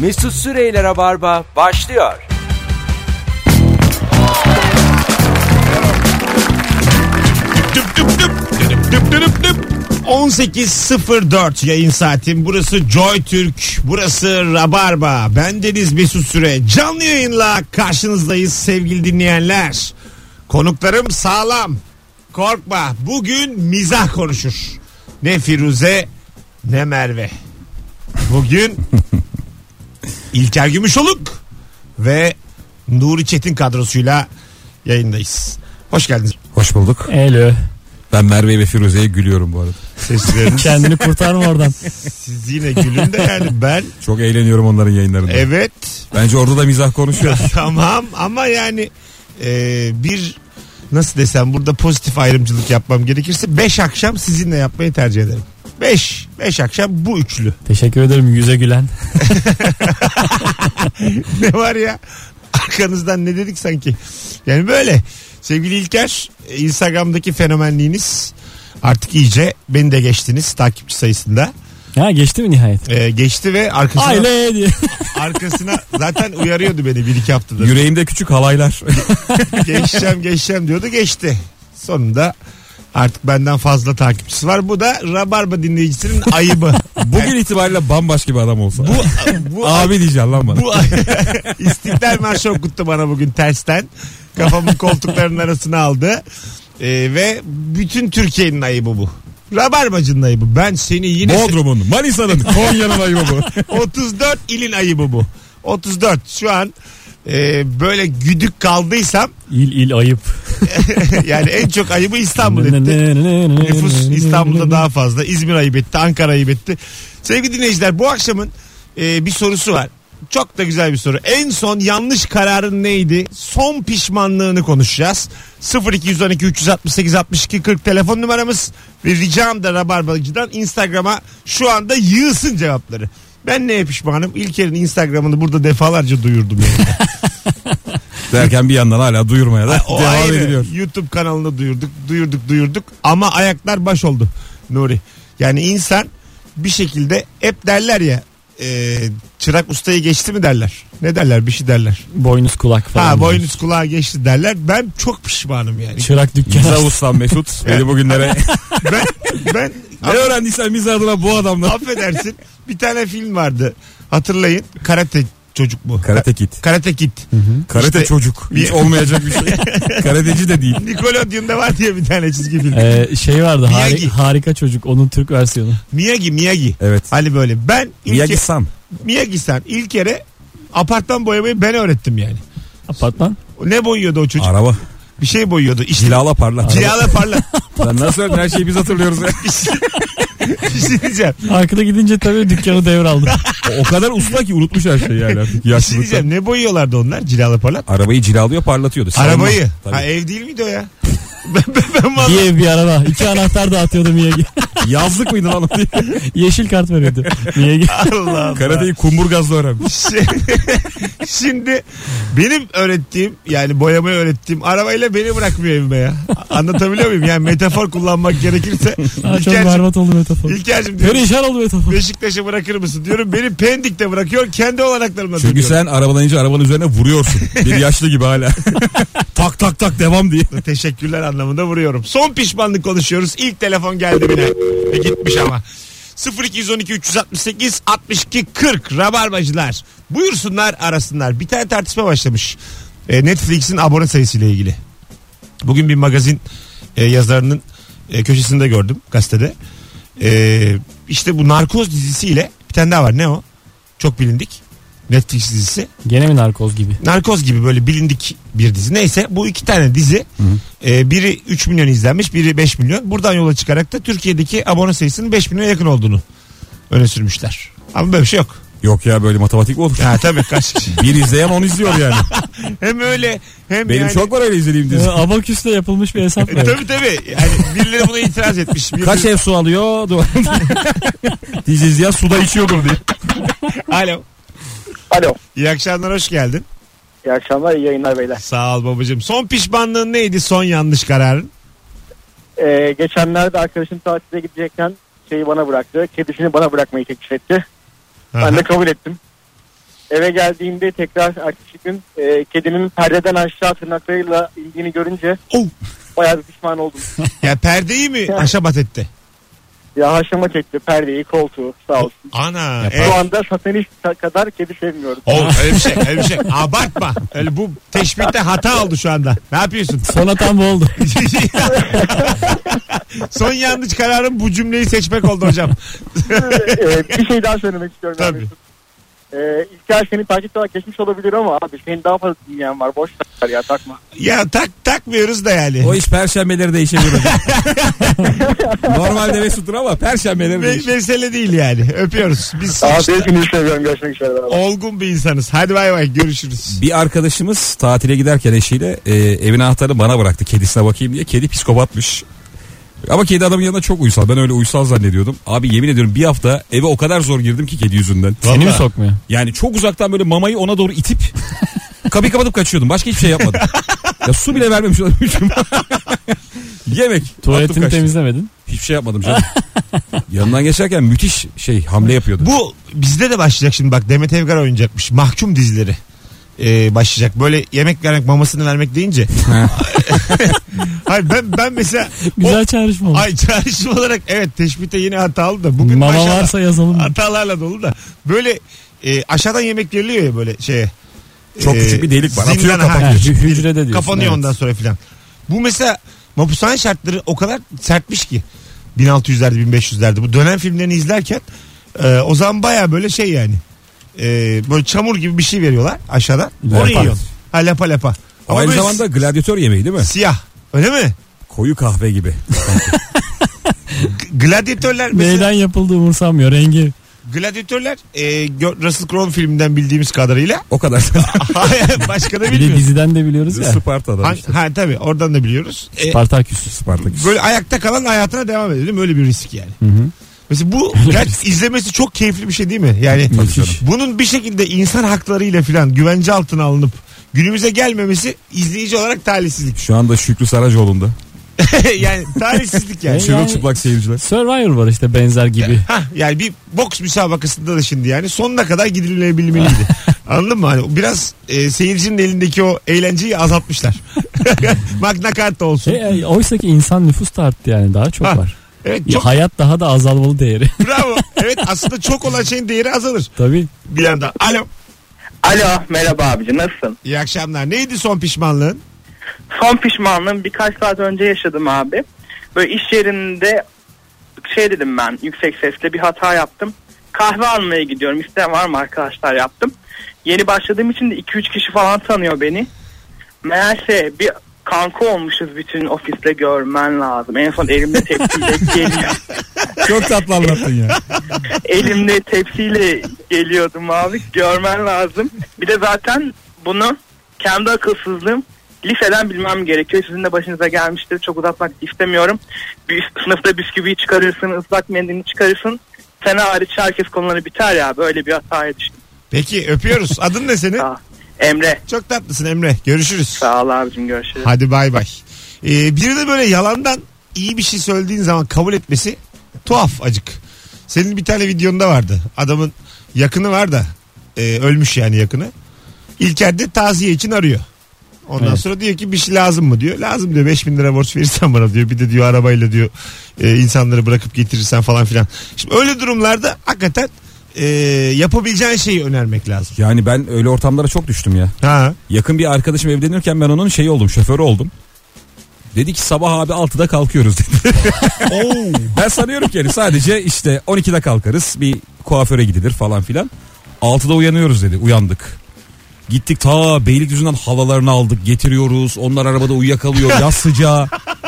Mesut Süreyler'e barba başlıyor. Düp düp düp, düdüp düp düdüp düp. 18.04 yayın saatim. Burası Joy Türk. Burası Rabarba. Ben Deniz Mesut Süre. Canlı yayınla karşınızdayız sevgili dinleyenler. Konuklarım sağlam. Korkma. Bugün mizah konuşur. Ne Firuze ne Merve. Bugün İlker Gümüşoluk ve Nuri Çetin kadrosuyla yayındayız. Hoş geldiniz. Hoş bulduk. Elo. Ben Merve ve Firuze'ye gülüyorum bu arada. Sesleriniz. Kendini kurtarma oradan. Siz yine gülün de yani ben Çok eğleniyorum onların yayınlarında. evet Bence orada da mizah konuşuyor. tamam ama yani e, bir nasıl desem burada pozitif ayrımcılık yapmam gerekirse 5 akşam sizinle yapmayı tercih ederim. 5 5 akşam bu üçlü. Teşekkür ederim yüze gülen. Ne var ya? Arkanızdan ne dedik sanki? Yani böyle. Sevgili İlker, e, Instagram'daki fenomenliğiniz artık iyice beni de geçtiniz takipçi sayısında. Ha geçti mi nihayet? E, geçti ve arkasına Aile diye. arkasına zaten uyarıyordu beni bir iki haftadır. Yüreğimde küçük halaylar. geçeceğim geçeceğim diyordu geçti. Sonunda artık benden fazla takipçisi var. Bu da Rabarba dinleyicisinin ayıbı. Bugün itibariyle bambaşka bir adam olsa. bu bu Abi diyeceksin lan bana. bu İstiklal Marşı okuttu bana bugün tersten. Kafamın koltuklarının arasına aldı. Ee, ve bütün Türkiye'nin ayıbı bu. Rabarbacının ayıbı. Ben seni yine Bodrum'un, Manisa'nın, Konya'nın ayıbı bu. 34 ilin ayıbı bu. 34 şu an e, böyle güdük kaldıysam İl il ayıp. yani en çok ayıbı İstanbul etti. Nüfus İstanbul'da daha fazla. İzmir ayıp etti. Ankara ayıp etti. Sevgili dinleyiciler bu akşamın e, bir sorusu var. Çok da güzel bir soru. En son yanlış kararın neydi? Son pişmanlığını konuşacağız. 0212 368 62 40 telefon numaramız. Ve ricam da Rabarbacı'dan Instagram'a şu anda yığsın cevapları. Ben neye pişmanım? İlker'in Instagram'ını burada defalarca duyurdum. Yani. Derken bir yandan hala duyurmaya da O devam ayrı. ediliyor. YouTube kanalında duyurduk, duyurduk, duyurduk. Ama ayaklar baş oldu Nuri. Yani insan bir şekilde hep derler ya e, çırak ustayı geçti mi derler. Ne derler bir şey derler. Boynuz kulak falan. ha diyor. boynuz kulağa geçti derler. Ben çok pişmanım yani. Çırak Miza dükkanı. ustam Mesut beni bugünlere ben ben ne öğrendiysen miza adına bu adamla. affedersin bir tane film vardı. Hatırlayın karate çocuk mu? Karate Kid. Karate Kid. Karate İşte- çocuk. Hiç olmayacak bir şey. Karateci de değil. Nickelodeon'da var diye bir tane çizgi film. Ee, şey vardı hari- Miyagi. harika çocuk onun Türk versiyonu. Miyagi Miyagi. Evet. Hani böyle ben ilk- Miyagi-san. Miyagi sen ilk kere apartman boyamayı ben öğrettim yani. Apartman. Ne boyuyordu o çocuk? Araba. Bir şey boyuyordu. İşte Cilala parlat. cilala parla. Lan nasıl öğrendin? her şeyi biz hatırlıyoruz ya. şey- bir şey diyeceğim. Arkada gidince tabii dükkanı devraldı. O- O kadar usta ki unutmuş her şeyi yani artık Bir şey yaşlılıktan. diyeceğim. Ne boyuyorlardı onlar cilala parla? Arabayı cilalıyor parlatıyordu. Salma. Arabayı. Tabii. Ha ev değil miydi o ya? ben, ben, ben vallahi- bir ev bir araba. İki anahtar dağıtıyordu Miyagi. Yazlık mıydı lan o diye. Yeşil kart veriyordu. Miyagi. Allah Allah. Karateyi kumburgazla öğrenmiş. Şi- Şimdi benim öğrettiğim yani boyamayı öğrettiğim arabayla beni bırakmıyor evime ya. Anlatabiliyor muyum? Yani metafor kullanmak gerekirse. Aa, çok İlker'cim, berbat oldu metafor. İlker'cim diyorum, Perişan oldu metafor. Beşiktaş'a bırakır mısın diyorum. Beni Pendik'te bırakıyor. Kendi olanaklarımla Çünkü dönüyorum. sen arabadan ince arabanın üzerine vuruyorsun. Bir yaşlı gibi hala. tak tak tak devam diye. Teşekkürler anlamında vuruyorum. Son pişmanlık konuşuyoruz. İlk telefon geldi bile. E, gitmiş ama. 0212 368 62 40 Rabarbacılar. Buyursunlar arasınlar. Bir tane tartışma başlamış. E, Netflix'in abone sayısıyla ilgili. Bugün bir magazin e, yazarının e, köşesinde gördüm gazetede. E, işte bu narkoz dizisiyle bir tane daha var. Ne o? Çok bilindik. Netflix dizisi. Gene mi narkoz gibi? Narkoz gibi böyle bilindik bir dizi. Neyse bu iki tane dizi e, biri 3 milyon izlenmiş biri 5 milyon. Buradan yola çıkarak da Türkiye'deki abone sayısının 5 milyona yakın olduğunu öne sürmüşler. Ama böyle bir şey yok. Yok ya böyle matematik mi olur? Ha tabii kaç kişi. Bir izleyen onu izliyor yani. hem öyle hem Benim yani. çok var öyle izlediğim Ee, dizi. Abaküsle yapılmış bir hesap. E, var. tabii tabii. Yani birileri buna itiraz etmiş. Birileri- Kaç ev su alıyor? Dizi izleyen suda içiyordur diye. Alo. Alo. İyi akşamlar hoş geldin. İyi akşamlar, iyi yayınlar beyler. Sağ ol babacığım. Son pişmanlığın neydi son yanlış kararın? Ee, geçenlerde arkadaşım tatile gidecekken şeyi bana bıraktı. Kedisini bana bırakmayı teklif etti. Aha. Ben de kabul ettim. Eve geldiğimde tekrar ertesi gün e, kedimin perdeden aşağı tırnaklarıyla indiğini görünce Oh. bayağı bir pişman oldum. Ya perdeyi mi aşa batetti? ya haşlama çekti perdeyi koltuğu sağ olsun. Ana. Yapar. e, Şu anda satanist kadar kedi sevmiyorum. Oğlum öyle bir şey öyle bir şey. Abartma. Öyle bu teşbihte hata oldu şu anda. Ne yapıyorsun? Son hatam bu oldu. Son yanlış kararım bu cümleyi seçmek oldu hocam. Ee, bir şey daha söylemek istiyorum. ben Tabii. Mesut. Ee, İlker seni takipte olarak geçmiş olabilir ama abi senin daha fazla dinleyen var. Boş ver ya takma. Ya tak takmıyoruz da yani. O iş perşembeleri değişebilir hocam. Normalde Mesut'tur ama perşembeleri Me- değişir. mesele değil yani. Öpüyoruz. Biz işte hepinizi seviyorum. Görüşmek üzere. olgun bir insanız. Hadi bay bay görüşürüz. Bir arkadaşımız tatile giderken eşiyle e, evin anahtarını bana bıraktı kedisine bakayım diye. Kedi psikopatmış. Ama kedi adamın yanında çok uysal. Ben öyle uysal zannediyordum. Abi yemin ediyorum bir hafta eve o kadar zor girdim ki kedi yüzünden. Seni mi Vallahi. sokmuyor? Yani çok uzaktan böyle mamayı ona doğru itip kapıyı kapatıp kaçıyordum. Başka hiçbir şey yapmadım. ya su bile vermemiş olabilirim. Yemek. attım Tuvaletini kaçtım. temizlemedin. Hiçbir şey yapmadım canım. Yanından geçerken müthiş şey hamle yapıyordu. Bu bizde de başlayacak şimdi bak Demet Evgar oynayacakmış. Mahkum dizileri ee, başlayacak. Böyle yemek vermek mamasını vermek deyince. Hayır ben, ben mesela Güzel çağrışma oldu. Ay çağrışım olarak evet teşbihte yine hatalı da. Bugün Mama maşallah varsa yazalım. hatalarla dolu da. Böyle e, aşağıdan yemek veriliyor ya böyle şeye. E, Çok küçük bir delik var. Atıyor, zindana, ha, Ha, hü- küçük bir- hücrede diyorsun. Kapanıyor evet. ondan sonra filan. Bu mesela mapushane şartları o kadar sertmiş ki. 1600'lerde 1500'lerde bu dönem filmlerini izlerken e, o zaman baya böyle şey yani. E, böyle çamur gibi bir şey veriyorlar aşağıdan. Onu Lapa. yiyorsun. Ha lapa lapa. Ama Aynı böyle zamanda gladyatör yemeği değil mi? siyah. Öyle mi? Koyu kahve gibi. G- Gladyatörler mesela. Neyden yapıldığı umursamıyor rengi. Gladyatörler e, Gö- Russell Crowe filminden bildiğimiz kadarıyla. O kadar. Hayır, Başka da Bir de bilmiyoruz. diziden de biliyoruz ya. Sparta'da Ha, işte. ha tabii oradan da biliyoruz. E, Spartaküs. Spartaküs. böyle ayakta kalan hayatına devam ediyor değil mi? Öyle bir risk yani. Mesela bu gerçi izlemesi çok keyifli bir şey değil mi? Yani Müthiş. bunun bir şekilde insan haklarıyla filan güvence altına alınıp günümüze gelmemesi izleyici olarak talihsizlik. Şu anda Şükrü Saracoğlu'nda. yani talihsizlik yani. Evet. Çırılçıplak seyirciler. Survivor var işte benzer gibi. Hah, yani bir boks müsabakasında da şimdi yani sonuna kadar gidilebilmeliydi. Anladın mı? Hani biraz e, seyircinin elindeki o eğlenceyi azaltmışlar. Magna Carta olsun. E, e, oysa ki insan nüfus da arttı yani daha çok Ha, var. Evet Ya çok hayat daha da azalmalı değeri. bravo. Evet aslında çok olan şeyin değeri azalır Tabii. bir yandan. Alo. Alo merhaba abici nasılsın? İyi akşamlar. Neydi son pişmanlığın? Son pişmanlığım birkaç saat önce yaşadım abi. Böyle iş yerinde şey dedim ben yüksek sesle bir hata yaptım. Kahve almaya gidiyorum. İsteyen var mı arkadaşlar yaptım. Yeni başladığım için de 2-3 kişi falan tanıyor beni. Meğerse bir kanka olmuşuz bütün ofiste görmen lazım. En son elimde tepsiyle geliyor. Çok tatlı anlattın ya. elimde tepsiyle geliyordum abi. Görmen lazım. Bir de zaten bunu kendi akılsızlığım liseden bilmem gerekiyor. Sizin de başınıza gelmiştir. Çok uzatmak istemiyorum. Bir, sınıfta bisküviyi çıkarırsın, ıslak mendilini çıkarırsın. Sena hariç herkes konuları biter ya. Böyle bir hataya düştüm. Peki öpüyoruz. Adın ne senin? Sağ. Emre. Çok tatlısın Emre. Görüşürüz. Sağ ol abicim görüşürüz. Hadi bay bay. Ee, biri de böyle yalandan iyi bir şey söylediğin zaman kabul etmesi tuhaf acık. Senin bir tane videonda vardı. Adamın yakını var da e, ölmüş yani yakını. İlker de taziye için arıyor. Ondan Evet. sonra diyor ki bir şey lazım mı diyor. Lazım diyor 5000 lira borç verirsen bana diyor. Bir de diyor arabayla diyor e, insanları bırakıp getirirsen falan filan. Şimdi öyle durumlarda hakikaten e, yapabileceğin şeyi önermek lazım. Yani ben öyle ortamlara çok düştüm ya. Ha. Yakın bir arkadaşım evlenirken ben onun şeyi oldum şoförü oldum. Dedi ki sabah abi 6'da kalkıyoruz dedi. ben sanıyorum ki yani sadece işte 12'de kalkarız bir kuaföre gidilir falan filan. 6'da uyanıyoruz dedi uyandık. Gittik ta Beylikdüzü'nden havalarını aldık getiriyoruz. Onlar arabada uyuyakalıyor yaz sıcağı.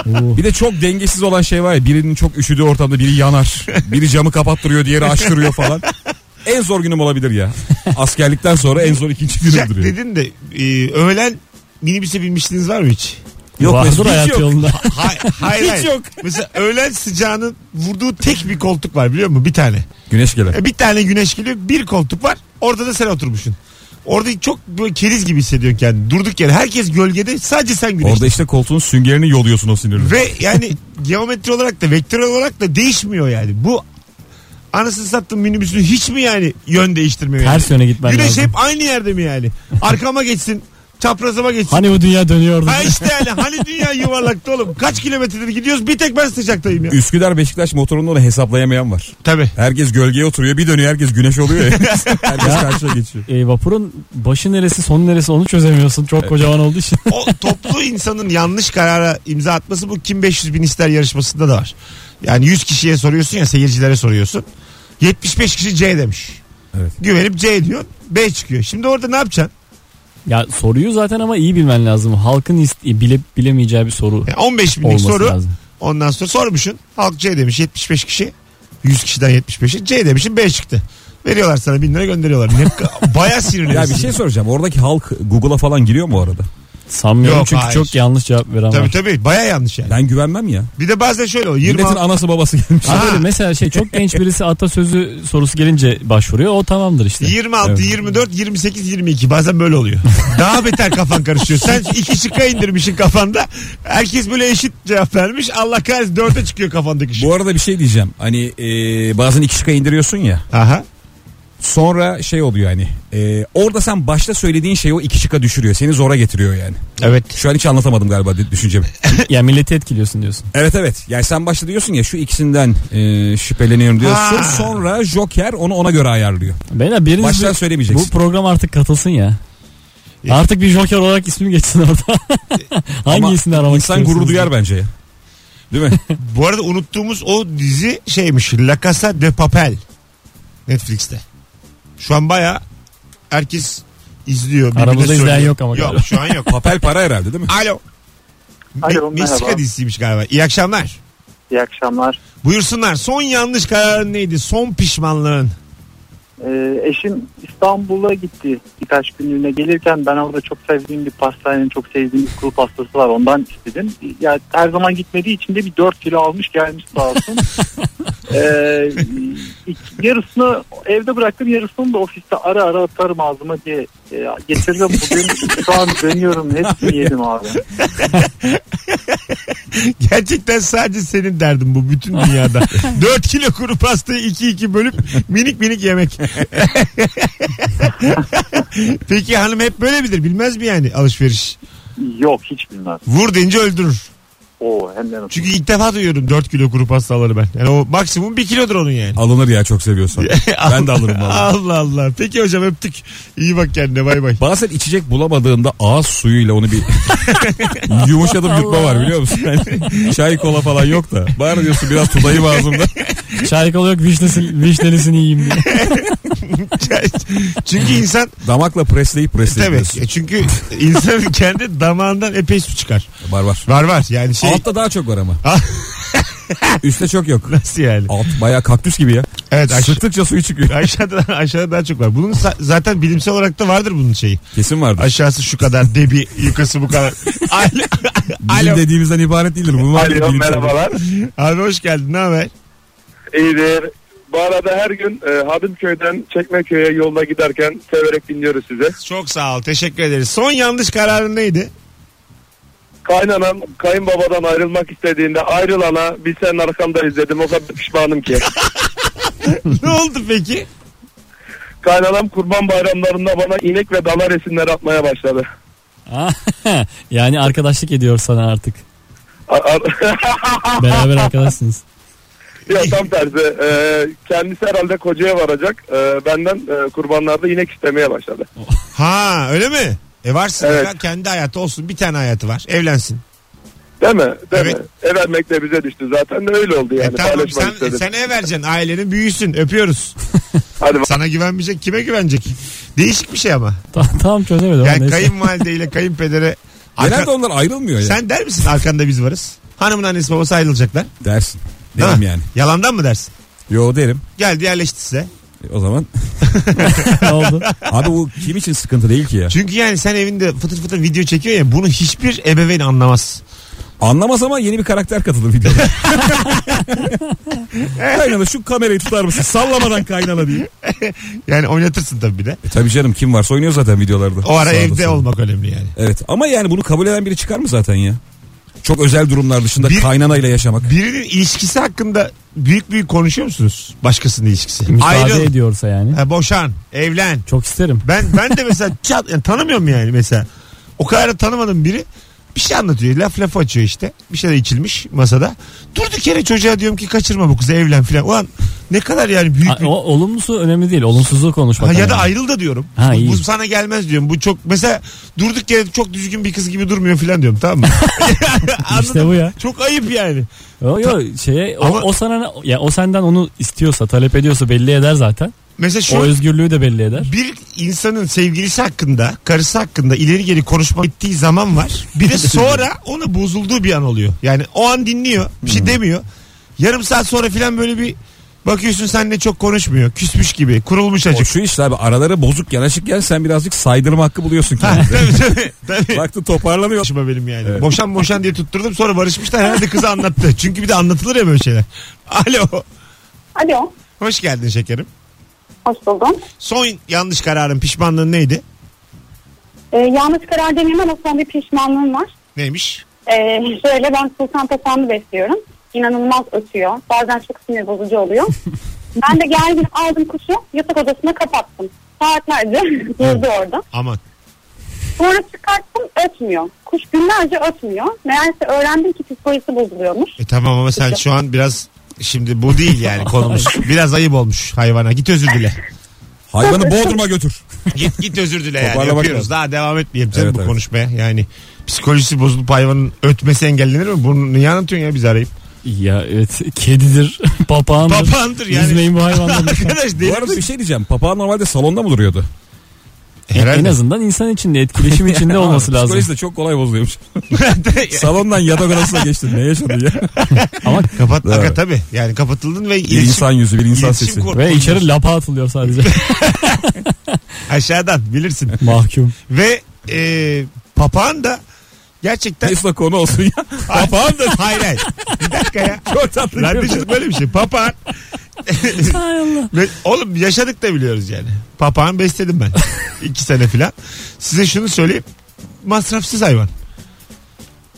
Oo. Bir de çok dengesiz olan şey var ya birinin çok üşüdüğü ortamda biri yanar. Biri camı kapattırıyor diğeri açtırıyor falan. En zor günüm olabilir ya. Askerlikten sonra en zor ikinci Sıcak günümdür. yani. dedin de e, öğlen minibüse binmişliğiniz var mı hiç? Yok Vardır Mesut, hiç hayat yok. yolunda. Hayır, hayır, Hiç hayır. yok. Mesela öğlen sıcağının vurduğu tek bir koltuk var biliyor musun? Bir tane. Güneş gelen. E, Bir tane güneş geliyor bir koltuk var. Orada da sen oturmuşsun. Orada çok böyle keriz gibi hissediyorsun kendini. Durduk yere herkes gölgede sadece sen güneş. Orada işte koltuğun süngerini yoluyorsun o sinirle. Ve yani geometri olarak da vektör olarak da değişmiyor yani. Bu Anasını sattım minibüsün hiç mi yani yön değiştirmiyor? yani? Ters yöne gitmen Güneş lazım. hep aynı yerde mi yani? Arkama geçsin, çaprazıma geçsin. Hani bu dünya dönüyordu. Ha işte yani hani dünya yuvarlakta oğlum. Kaç kilometredir gidiyoruz bir tek ben sıcaktayım ya. Üsküdar Beşiktaş motorunda onu hesaplayamayan var. Tabii. Herkes gölgeye oturuyor bir dönüyor herkes güneş oluyor ya. herkes karşıya geçiyor. E, vapurun başı neresi sonu neresi onu çözemiyorsun. Çok kocaman olduğu için. O toplu insanın yanlış karara imza atması bu kim 500 bin ister yarışmasında da var. Yani 100 kişiye soruyorsun ya seyircilere soruyorsun. 75 kişi C demiş. Evet. Güvenip C diyor B çıkıyor. Şimdi orada ne yapacaksın? Ya soruyu zaten ama iyi bilmen lazım. Halkın ist- bilip bilemeyeceği bir soru Yani 15 E, binlik olması soru. lazım. Ondan sonra sormuşsun. Halk C demiş 75 kişi. 100 kişiden 75'i C demişin B çıktı. Veriyorlar sana 1000 lira gönderiyorlar. Ne, bayağı sinirlenirsin. Ya bir şey soracağım oradaki halk Google'a falan giriyor mu o arada? Sanmıyorum Yok, çünkü hayır. çok yanlış cevap veren Tabii var. tabii baya yanlış yani. Ben güvenmem ya. Bir de bazen şöyle oluyor. 20 Milletin anası babası gelmiş. Ha. Ha, böyle mesela şey çok genç birisi atasözü sorusu gelince başvuruyor. O tamamdır işte. 26, 24, 28, 22 bazen böyle oluyor. Daha beter kafan karışıyor. Sen iki şıkka indirmişin kafanda. Herkes böyle eşit cevap vermiş. Allah kahretsin dörde çıkıyor kafandaki şık. Bu arada bir şey diyeceğim. Hani e, bazen iki şıkka indiriyorsun ya. Aha. Sonra şey oluyor hani. e, orada sen başta söylediğin şeyi o iki şıkka düşürüyor. Seni zora getiriyor yani. Evet. Şu an hiç anlatamadım galiba di- düşüncemi. Ya milleti etkiliyorsun diyorsun. Evet evet. Yani sen başta diyorsun ya şu ikisinden e, şüpheleniyorum diyorsun. Ha. Sonra Joker onu ona göre ayarlıyor. Beyler biriniz Baştan bir- söylemeyeceksin. bu program artık katılsın ya. Artık bir joker olarak ismim geçsin orada. Hangisini Ama aramak insan gurur istiyorsunuz? duyar bence ya. Değil mi? Bu arada unuttuğumuz o dizi şeymiş. La Casa de Papel. Netflix'te. Şu an baya herkes izliyor. birbirine Aramızda izleyen söylüyor. yok ama Yok galiba. şu an yok. Papel para herhalde değil mi? Alo. Alo, Me- Meksika merhaba. dizisiymiş galiba. İyi akşamlar. İyi akşamlar. Buyursunlar. Son yanlış kararın neydi? Son pişmanlığın. Ee, eşim İstanbul'a gitti birkaç günlüğüne gelirken ben orada çok sevdiğim bir pastanenin çok sevdiğim bir kuru pastası var ondan istedim. Ya her zaman gitmediği için de bir 4 kilo almış gelmiş sağ olsun. Ee, ilk- yarısını evde bıraktım yarısını da ofiste ara ara atarım ağzıma diye e, getirdim bugün şu an dönüyorum hepsini yedim abi. Gerçekten sadece senin derdin bu bütün dünyada. 4 kilo kuru pastayı 2-2 bölüp minik minik yemek. Peki hanım hep böyle midir? Bilmez mi yani alışveriş? Yok hiç bilmez. Vur deyince öldürür. Oo hem de nasıl. Çünkü ilk defa duyuyorum 4 kilo kuru pastaları ben. Yani o maksimum 1 kilodur onun yani. Alınır ya çok seviyorsan. ben de alırım vallahi. Allah Allah. Peki hocam öptük. İyi bak kendine bay bay. Bazen içecek bulamadığında ağız suyuyla onu bir yumuşatıp yutma var biliyor musun? Yani çay kola falan yok da. Bari diyorsun biraz tutayım ağzımda. Şarkılı yok vişnesi, vişnelisini yiyeyim diye. Çünkü insan Damakla presleyip presleyip tabii. E diyorsun. Çünkü insanın kendi damağından epey su çıkar. Var var. Var var yani şey Altta daha çok var ama. Üste çok yok. nasıl yani? Alt baya kaktüs gibi ya. Evet aşırı. Sıktıkça suyu çıkıyor. Aşağıda, aşağıda daha çok var. Bunun za- zaten bilimsel olarak da vardır bunun şeyi. Kesin vardır. Aşağısı şu kadar debi, yukarısı bu kadar. Alo. Bizim Alo. dediğimizden ibaret değildir. Bu var ya Alo bilimsel. merhabalar. Abi hoş geldin ne haber? İyidir. Bu arada her gün e, Hadımköy'den Çekmeköy'e yolda giderken severek dinliyoruz sizi. Çok sağ ol teşekkür ederiz. Son yanlış kararın neydi? Kaynanam kayınbabadan ayrılmak istediğinde ayrılana biz senin arkandayız dedim o kadar pişmanım ki. ne oldu peki? Kaynanam kurban bayramlarında bana inek ve dana resimleri atmaya başladı. yani arkadaşlık ediyor sana artık. A- a- Beraber arkadaşsınız. ya tam tersi. E, kendisi herhalde kocaya varacak. E, benden e, kurbanlarda inek istemeye başladı. Ha öyle mi? E varsın Evet. ya, kendi hayatı olsun bir tane hayatı var evlensin. Değil mi? Değil Evet. mi? Ev vermek de bize düştü zaten de öyle oldu yani. e tamam Paylaşmak sen, istedim. sen ev vereceksin ailenin büyüsün öpüyoruz. Hadi Sana güvenmeyecek kime güvenecek? Değişik bir şey ama. Tam, tam çözemedim. ama Yani neyse. kayınvalideyle kayınpedere. Genelde onlar ayrılmıyor ya. Sen der misin arkanda biz varız? Hanımın annesi babası ayrılacaklar. Dersin. Değil Derim mi? yani. Yalandan mı dersin? Yo derim. Geldi yerleşti size. E, O zaman. Ne oldu? Abi bu kim için sıkıntı değil ki ya. Çünkü yani sen evinde fıtır fıtır video çekiyor ya bunu hiçbir ebeveyn anlamaz. Anlamaz ama yeni bir karakter katılır videoda. kaynana şu kamerayı tutar mısın? Sallamadan kaynana diye. Yani oynatırsın tabii bir de. E tabii canım kim varsa oynuyor zaten videolarda. O ara Sağda evde solda. olmak önemli yani. Evet ama yani bunu kabul eden biri çıkar mı zaten ya? Çok özel durumlar dışında Bir- kaynanayla yaşamak. Birinin ilişkisi hakkında büyük büyük konuşuyor musunuz? Başkasının ilişkisi. E, Müsaade Ayrıl. ediyorsa yani. Ha, boşan. Evlen. Çok isterim. Ben ben de mesela çat, yani tanımıyorum yani mesela. O kadar da tanımadığım biri bir şey anlatıyor. Laf laf açıyor işte. Bir şeyler içilmiş masada. Durduk yere çocuğa diyorum ki kaçırma bu kızı evlen filan. Ulan ne kadar yani büyük A- bir... o, olumlusu önemli değil. Olumsuzluğu konuşmak. Ha, ya önemli. da ayrıl da diyorum. Ha, bu, iyi. bu sana gelmez diyorum. Bu çok mesela durduk yere çok düzgün bir kız gibi durmuyor filan diyorum tamam mı? İşte Anladın bu mı? ya. Çok ayıp yani. Yo, yo, şeye, o, Ama- o sana ne- ya o senden onu istiyorsa, talep ediyorsa belli eder zaten. Mesela şu O özgürlüğü de belli eder. bir insanın sevgilisi hakkında, karısı hakkında ileri geri konuşma ettiği zaman var. Bir de sonra ona bozulduğu bir an oluyor. Yani o an dinliyor, bir Hmm. şey demiyor. Yarım saat sonra filan böyle bir bakıyorsun seninle çok konuşmuyor. Küsmüş gibi, kurulmuş O açık. şu işte abi aralara bozuk yanaşık gelsen birazcık saydırma hakkı buluyorsun Ha, kendine. tabii tabii. tabii. Baktın toparlanıyor. Konuşma benim yani. Evet. Boşan boşan diye tutturdum sonra barışmışlar herhalde kızı anlattı. Çünkü bir de anlatılır ya böyle şeyler. Alo. Alo, Hoş geldin şekerim. hoş buldum. Son yanlış kararın pişmanlığın neydi? Ee, yanlış karar demeyeyim ama son bir pişmanlığım var. Neymiş? Ee, şöyle ben sultan tapanlı besliyorum. İnanılmaz ötüyor. Bazen çok sinir bozucu oluyor. ben de geldim aldım kuşu yatak odasına kapattım. Saatlerce durdu orada. Aman. Sonra çıkarttım ötmüyor. Kuş günlerce ötmüyor. Meğerse öğrendim ki psikolojisi bozuluyormuş. E tamam ama sen şu an biraz şimdi bu değil yani konumuz. Biraz ayıp olmuş hayvana. Git özür dile. Hayvanı Bodrum'a götür. Git git özür dile yani. Toparlamak Yapıyoruz. lazım. Daha devam etmeyelim canım Evet, bu evet. konuşmaya. Yani psikolojisi bozulup hayvanın ötmesi engellenir mi? Bunu niye anlatıyorsun ya biz arayıp? Ya evet kedidir, papağandır. Papağandır yani. Üzmeyin bu hayvanları. Arkadaş Bu deli arada misin? bir şey diyeceğim. Papağan normalde salonda mı duruyordu? Herhalde. en azından insan içinde, etkileşim içinde olması Psikolojisi lazım. de çok kolay bozuluyormuş. Salondan yatak odasına geçtin. Ne yaşadın ya? Kapat, Evet. aga tabii. Yani kapatıldın ve Bir iletişim, insan yüzü, bir insan iletişim sesi. kur- Ve içeri lapa atılıyor sadece. aşağıdan bilirsin. Mahkum. ve e, papağan da gerçekten... Neyse konu olsun ya. papağan da... hayır hayır. Bir dakika ya. Çok tatlı. Radyoculuk böyle bir şey. Papağan. Ve oğlum yaşadık da biliyoruz yani. Papağan besledim ben. İki sene filan. Size şunu söyleyeyim. Masrafsız hayvan.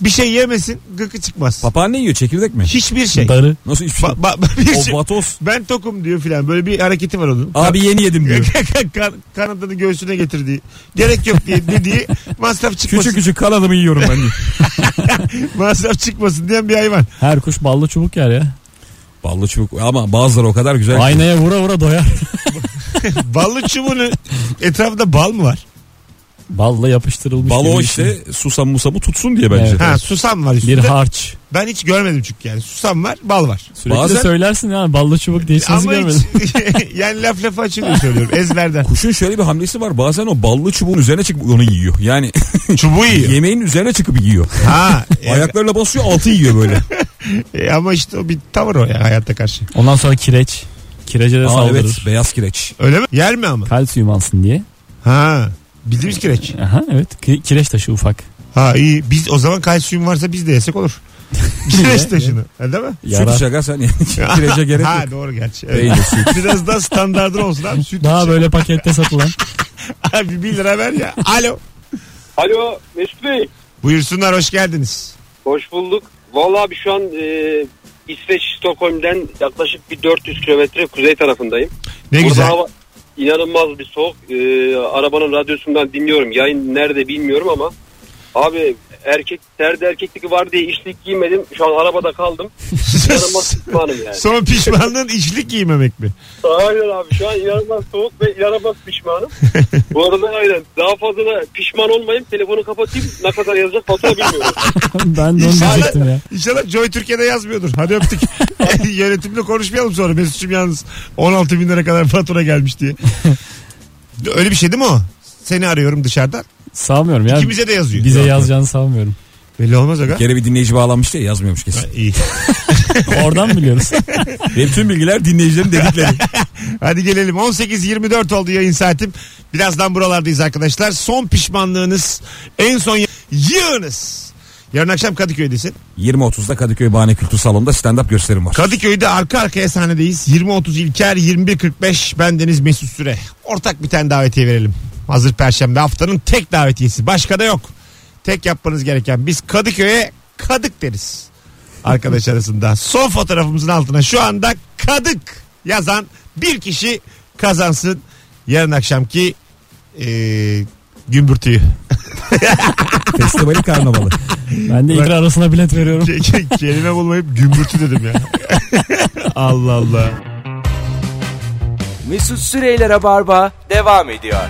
Bir şey yemesin gıkı çıkmaz. Papağan ne yiyor? Çekirdek mi? Hiçbir şey. Darı. Nasıl hiçbir şey? Ba- ba- bir şey- O vatoz. Ben tokum diyor filan. Böyle bir hareketi var onun. Abi yeni yedim diyor. Kan- kanadını göğsüne getirdiği. Gerek yok diye dediği masraf çıkmasın. Küçük küçük kanadımı yiyorum ben. diyor. Masraf çıkmasın diyen bir hayvan. Her kuş ballı çubuk yer ya. Ballı çubuk ama bazıları o kadar güzel. ki. Aynaya vura vura doyar. Ballı çubuğunu etrafında bal mı var? Balla yapıştırılmış. Bal gibi o bir şey. işte susam musamı tutsun diye bence. Evet. Ha susam var Bir üstünde. harç. Ben hiç görmedim çünkü yani. Susam var, bal var. Sürekli Bazen- de söylersin ya ballı çubuk diye hiç Ama görmedim. hiç yani laf lafa açılıyor söylüyorum. Ezberden. Kuşun şöyle bir hamlesi var. Bazen o ballı çubuğun üzerine çıkıp onu yiyor. Yani Çubuğu yiyor. yemeğin üzerine çıkıp yiyor. ha. e, Ayaklarıyla basıyor altı yiyor böyle. e, ama işte o bir tavır o ya hayata karşı. Ondan sonra kireç. Kirece de Aa, saldırır. evet beyaz kireç. Öyle mi? Yer mi ama? Kalsiyum alsın diye. Ha. Bildiğimiz kireç. Aha evet Ki- kireç taşı ufak. Ha iyi. Biz o zaman kalsiyum varsa biz de yesek olur. kireç taşını. Ha, değil mi? Yara. Süt şaka sen yani. Kirece gerek ha yok. doğru gerçi. Evet. Peynir, süt. Biraz daha standartın olsun abi. Süt Daha içe- böyle pakette satılan. Abi 1 lira ver ya. Alo. Alo Mesut Bey. Buyursunlar hoş geldiniz. Hoş bulduk. Vallahi bir şu an e, İsveç Stockholm'den yaklaşık bir 400 kilometre kuzey tarafındayım. Ne Burada güzel. hava inanılmaz bir soğuk. E, arabanın radyosundan dinliyorum. Yayın nerede bilmiyorum ama. Abi erkek terde erkeklik var diye işlik giymedim. Şu an arabada kaldım. İnanılmaz pişmanım yani. Son pişmanlığın içlik giymemek mi? Aynen abi şu an inanılmaz soğuk ve inanılmaz pişmanım. Bu arada aynen daha fazla da pişman olmayayım. Telefonu kapatayım ne kadar yazacak fatura bilmiyorum. ben de onu İnşallah- diyecektim ya. İnşallah Joy Türkiye'de yazmıyordur. Hadi öptük. Yönetimle konuşmayalım sonra. Mesut'cum yalnız 16 bin lira kadar fatura gelmiş diye. Öyle bir şey değil mi o? Seni arıyorum dışarıdan. Savmıyorum ya. İkimize de yazıyor. Bize Yok. yazacağını savmıyorum. Belli olmaz aga. Bir kere bir dinleyici bağlanmış diye yazmıyormuş kesin. İyi. Oradan biliyoruz. Benim tüm bilgiler dinleyicilerin dedikleri. Hadi gelelim. 18.24 oldu yayın saatim. Birazdan buralardayız arkadaşlar. Son pişmanlığınız en son y- yığınız. Yarın akşam Kadıköy'desin. 20.30'da Kadıköy Bahane Kültür Salonu'nda stand-up gösterim var. Kadıköy'de arka arkaya sahnedeyiz. 20.30 İlker, 21.45 bendeniz Mesut Süre. Ortak bir tane davetiye verelim. Hazır Perşembe haftanın tek davetiyesi. Başka da yok. Tek yapmanız gereken biz Kadıköy'e kadık deriz. Arkadaş arasında. Son fotoğrafımızın altına şu anda kadık yazan bir kişi kazansın yarın akşamki eee gümbürtüyü. Festivali karnavalı. Ben de ikra arasına bilet veriyorum. Ke- ke- Kelime bulmayıp gümbürtü dedim ya. Allah Allah. Mesut Süreyler'e barba devam ediyor.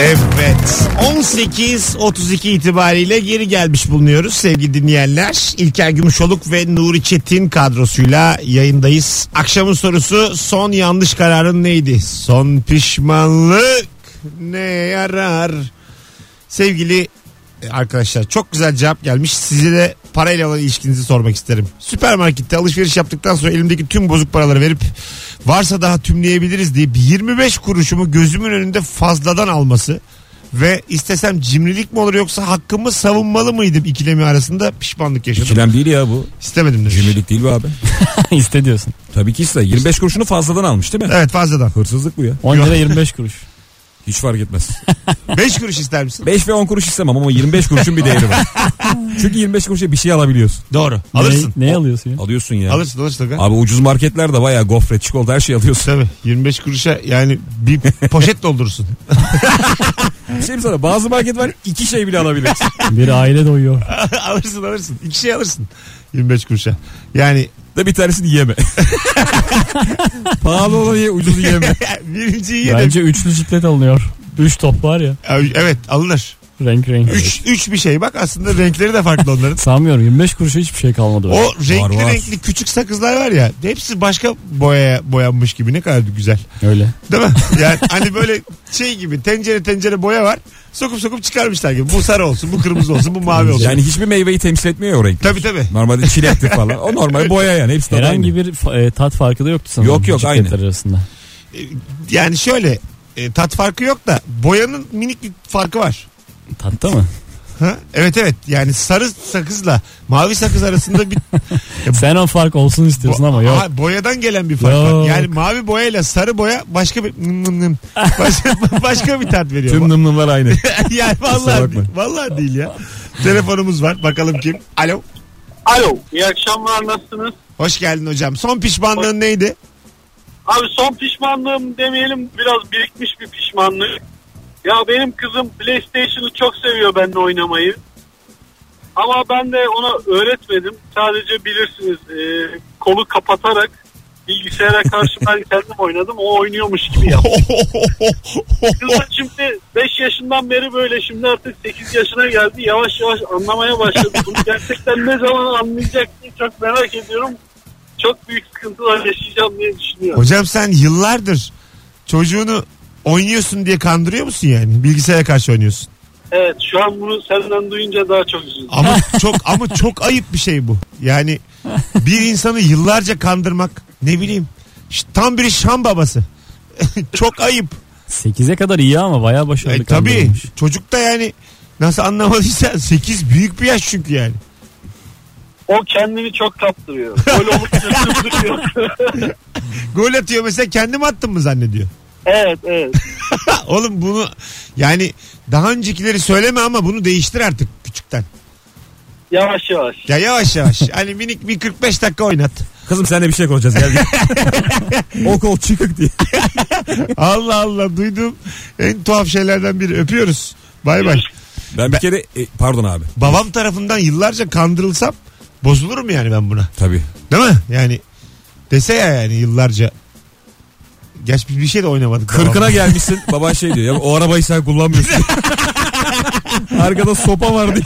Evet. 18.32 itibariyle geri gelmiş bulunuyoruz sevgili dinleyenler. İlker Gümüşoluk ve Nuri Çetin kadrosuyla yayındayız. Akşamın sorusu son yanlış kararın neydi? Son pişmanlık ne yarar? Sevgili e, arkadaşlar çok güzel cevap gelmiş. Size de parayla olan ilişkinizi sormak isterim. Süpermarkette alışveriş yaptıktan sonra elimdeki tüm bozuk paraları verip varsa daha tümleyebiliriz deyip 25 kuruşumu gözümün önünde fazladan alması ve istesem cimrilik mi olur yoksa hakkımı savunmalı mıydım ikilemi arasında pişmanlık yaşadım. İkilem değil ya bu. İstemedim demiş. Cimrilik değil bu abi. İste diyorsun. Tabii ki ise 25 kuruşunu fazladan almış değil mi? Evet fazladan. Hırsızlık bu ya. 10 lira 25 kuruş. Hiç fark etmez. 5 kuruş ister misin? 5 ve 10 kuruş istemem ama 25 kuruşun bir değeri var. Çünkü 25 kuruşa bir şey alabiliyorsun. Doğru. Alırsın. Ne, ne alıyorsun ya? Alıyorsun ya. Alırsın alırsın. aga. Abi ucuz marketlerde bayağı gofret, çikolata her şey alıyorsun. Tabii 25 kuruşa yani bir poşet doldurursun. Bir şey mi sana bazı market var iki şey bile alabilirsin. Bir aile doyuyor. alırsın alırsın. İki şey alırsın. 25 kuruşa. Yani da bir tanesini yeme. Pahalı olanı ye, ucuzu yeme. birinciyi yedim. Bence üçlü ciklet alınıyor. Üç top var ya. Evet alınır. Renk renk. 3 3 bir şey bak aslında renkleri de farklı onların. Sanmıyorum 25 kuruşa hiçbir şey kalmadı. O renkli var. renkli küçük sakızlar var ya hepsi başka boyaya boyanmış gibi ne kadar güzel. Öyle. Değil mi? Yani hani böyle şey gibi tencere tencere boya var. Sokup sokup çıkarmışlar gibi. Bu sarı olsun, bu kırmızı olsun, bu mavi olsun. Yani hiçbir meyveyi temsil etmiyor ya o renk. Tabii tabii. Normalde çilektir falan. O normal boya yani. Hepsi tadı aynı. Herhangi bir fa- e, tat farkı da yoktu sanırım. Yok, yok, cikletler aynı. arasında. Yani şöyle e, tat farkı yok da boyanın minik bir farkı var. Tatta mı? Ha? Evet evet yani sarı sakızla mavi sakız arasında bir Sen o fark olsun istiyorsun ama yok. Aha, boyadan gelen bir fark var. Yok. Yani mavi boyayla sarı boya başka bir nım nım nım. başka, başka bir tat veriyor. Tüm nımnımlar aynı. yani vallahi bakma. değil, vallahi değil ya. Telefonumuz var. Bakalım kim? Alo. Alo iyi akşamlar nasılsınız? Hoş geldin hocam. Son pişmanlığın neydi? Abi son pişmanlığım demeyelim biraz birikmiş bir pişmanlık. Ya benim kızım PlayStation'ı çok seviyor benimle oynamayı. Ama ben de ona öğretmedim. Sadece bilirsiniz e, kolu kapatarak bilgisayara karşı ben kendim oynadım. O oynuyormuş gibi yaptı. Kız da şimdi 5 yaşından beri böyle şimdi artık 8 yaşına geldi. Yavaş yavaş anlamaya başladı. Bunu gerçekten ne zaman anlayacak diye çok merak ediyorum. Çok büyük sıkıntılar yaşayacağım diye düşünüyorum. hocam sen yıllardır çocuğunu oynuyorsun diye kandırıyor musun yani? Bilgisayara karşı oynuyorsun. Evet şu an bunu senden duyunca daha çok üzüldüm. Ama çok ama çok ayıp bir şey bu. Yani bir insanı yıllarca kandırmak ne bileyim ş- tam bir şam babası. çok ayıp. 8'e kadar iyi ama bayağı başarılı E, tabii kandırılmış. çocuk da yani nasıl anlamadıysan 8 büyük bir yaş çünkü yani. O kendini çok kaptırıyor. Gol olunca kızdırıyor. Gol atıyor mesela kendim attım mı zannediyor. evet evet. Ha, Oğlum bunu yani daha öncekileri söyleme ama bunu değiştir artık küçükten. Yavaş yavaş. Ya yavaş yavaş hani minik bir 45 dakika oynat. Kızım seninle bir şey konuşacağız gel gel. o kol çıkık diye. Allah Allah duydum en tuhaf şeylerden biri öpüyoruz. Bay bay. Ben bir kere e, pardon abi. Babam tarafından yıllarca kandırılsam bozulurum yani ben buna. Tabii. Değil mi? Yani dese ya yani yıllarca. Gerçi biz bir şey de oynamadık. Kırkına babamla. gelmişsin. Baban şey diyor. Ya, o arabayı sen kullanmıyorsun. Arkada sopa var diye.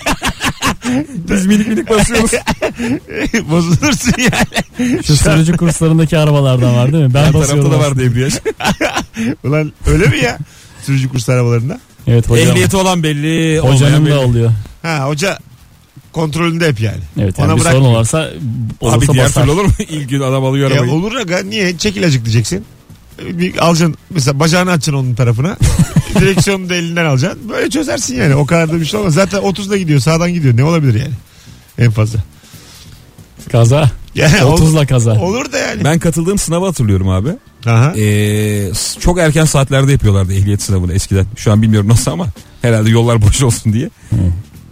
Biz minik minik basıyoruz. Bozulursun yani. Şu sürücü kurslarındaki arabalardan var değil mi? Ben Her tarafta basıyorum. da var debriyaj. Ulan öyle mi ya? Sürücü kurs arabalarında. Evet hocam. Ehliyeti olan belli. olmayan Hocanın belli. da oluyor. Ha hoca kontrolünde hep yani. Evet yani bir bırak- sorun olursa, olursa Abi diğer basar. türlü olur mu? İlk gün adam alıyor Ya arabayı. olur aga niye? Çekil acık diyeceksin. Bir alacaksın mesela bacağını açacaksın onun tarafına. Direksiyonu da elinden alacaksın. Böyle çözersin yani. O kadar da bir şey olmaz. Zaten 30'da gidiyor sağdan gidiyor. Ne olabilir yani? En fazla. Kaza. Yani ol- 30'la kaza. Olur da yani. Ben katıldığım sınavı hatırlıyorum abi. Aha. E- Ee, s- çok erken saatlerde yapıyorlardı ehliyet sınavını eskiden. Şu an bilmiyorum nasıl ama herhalde yollar boş olsun diye.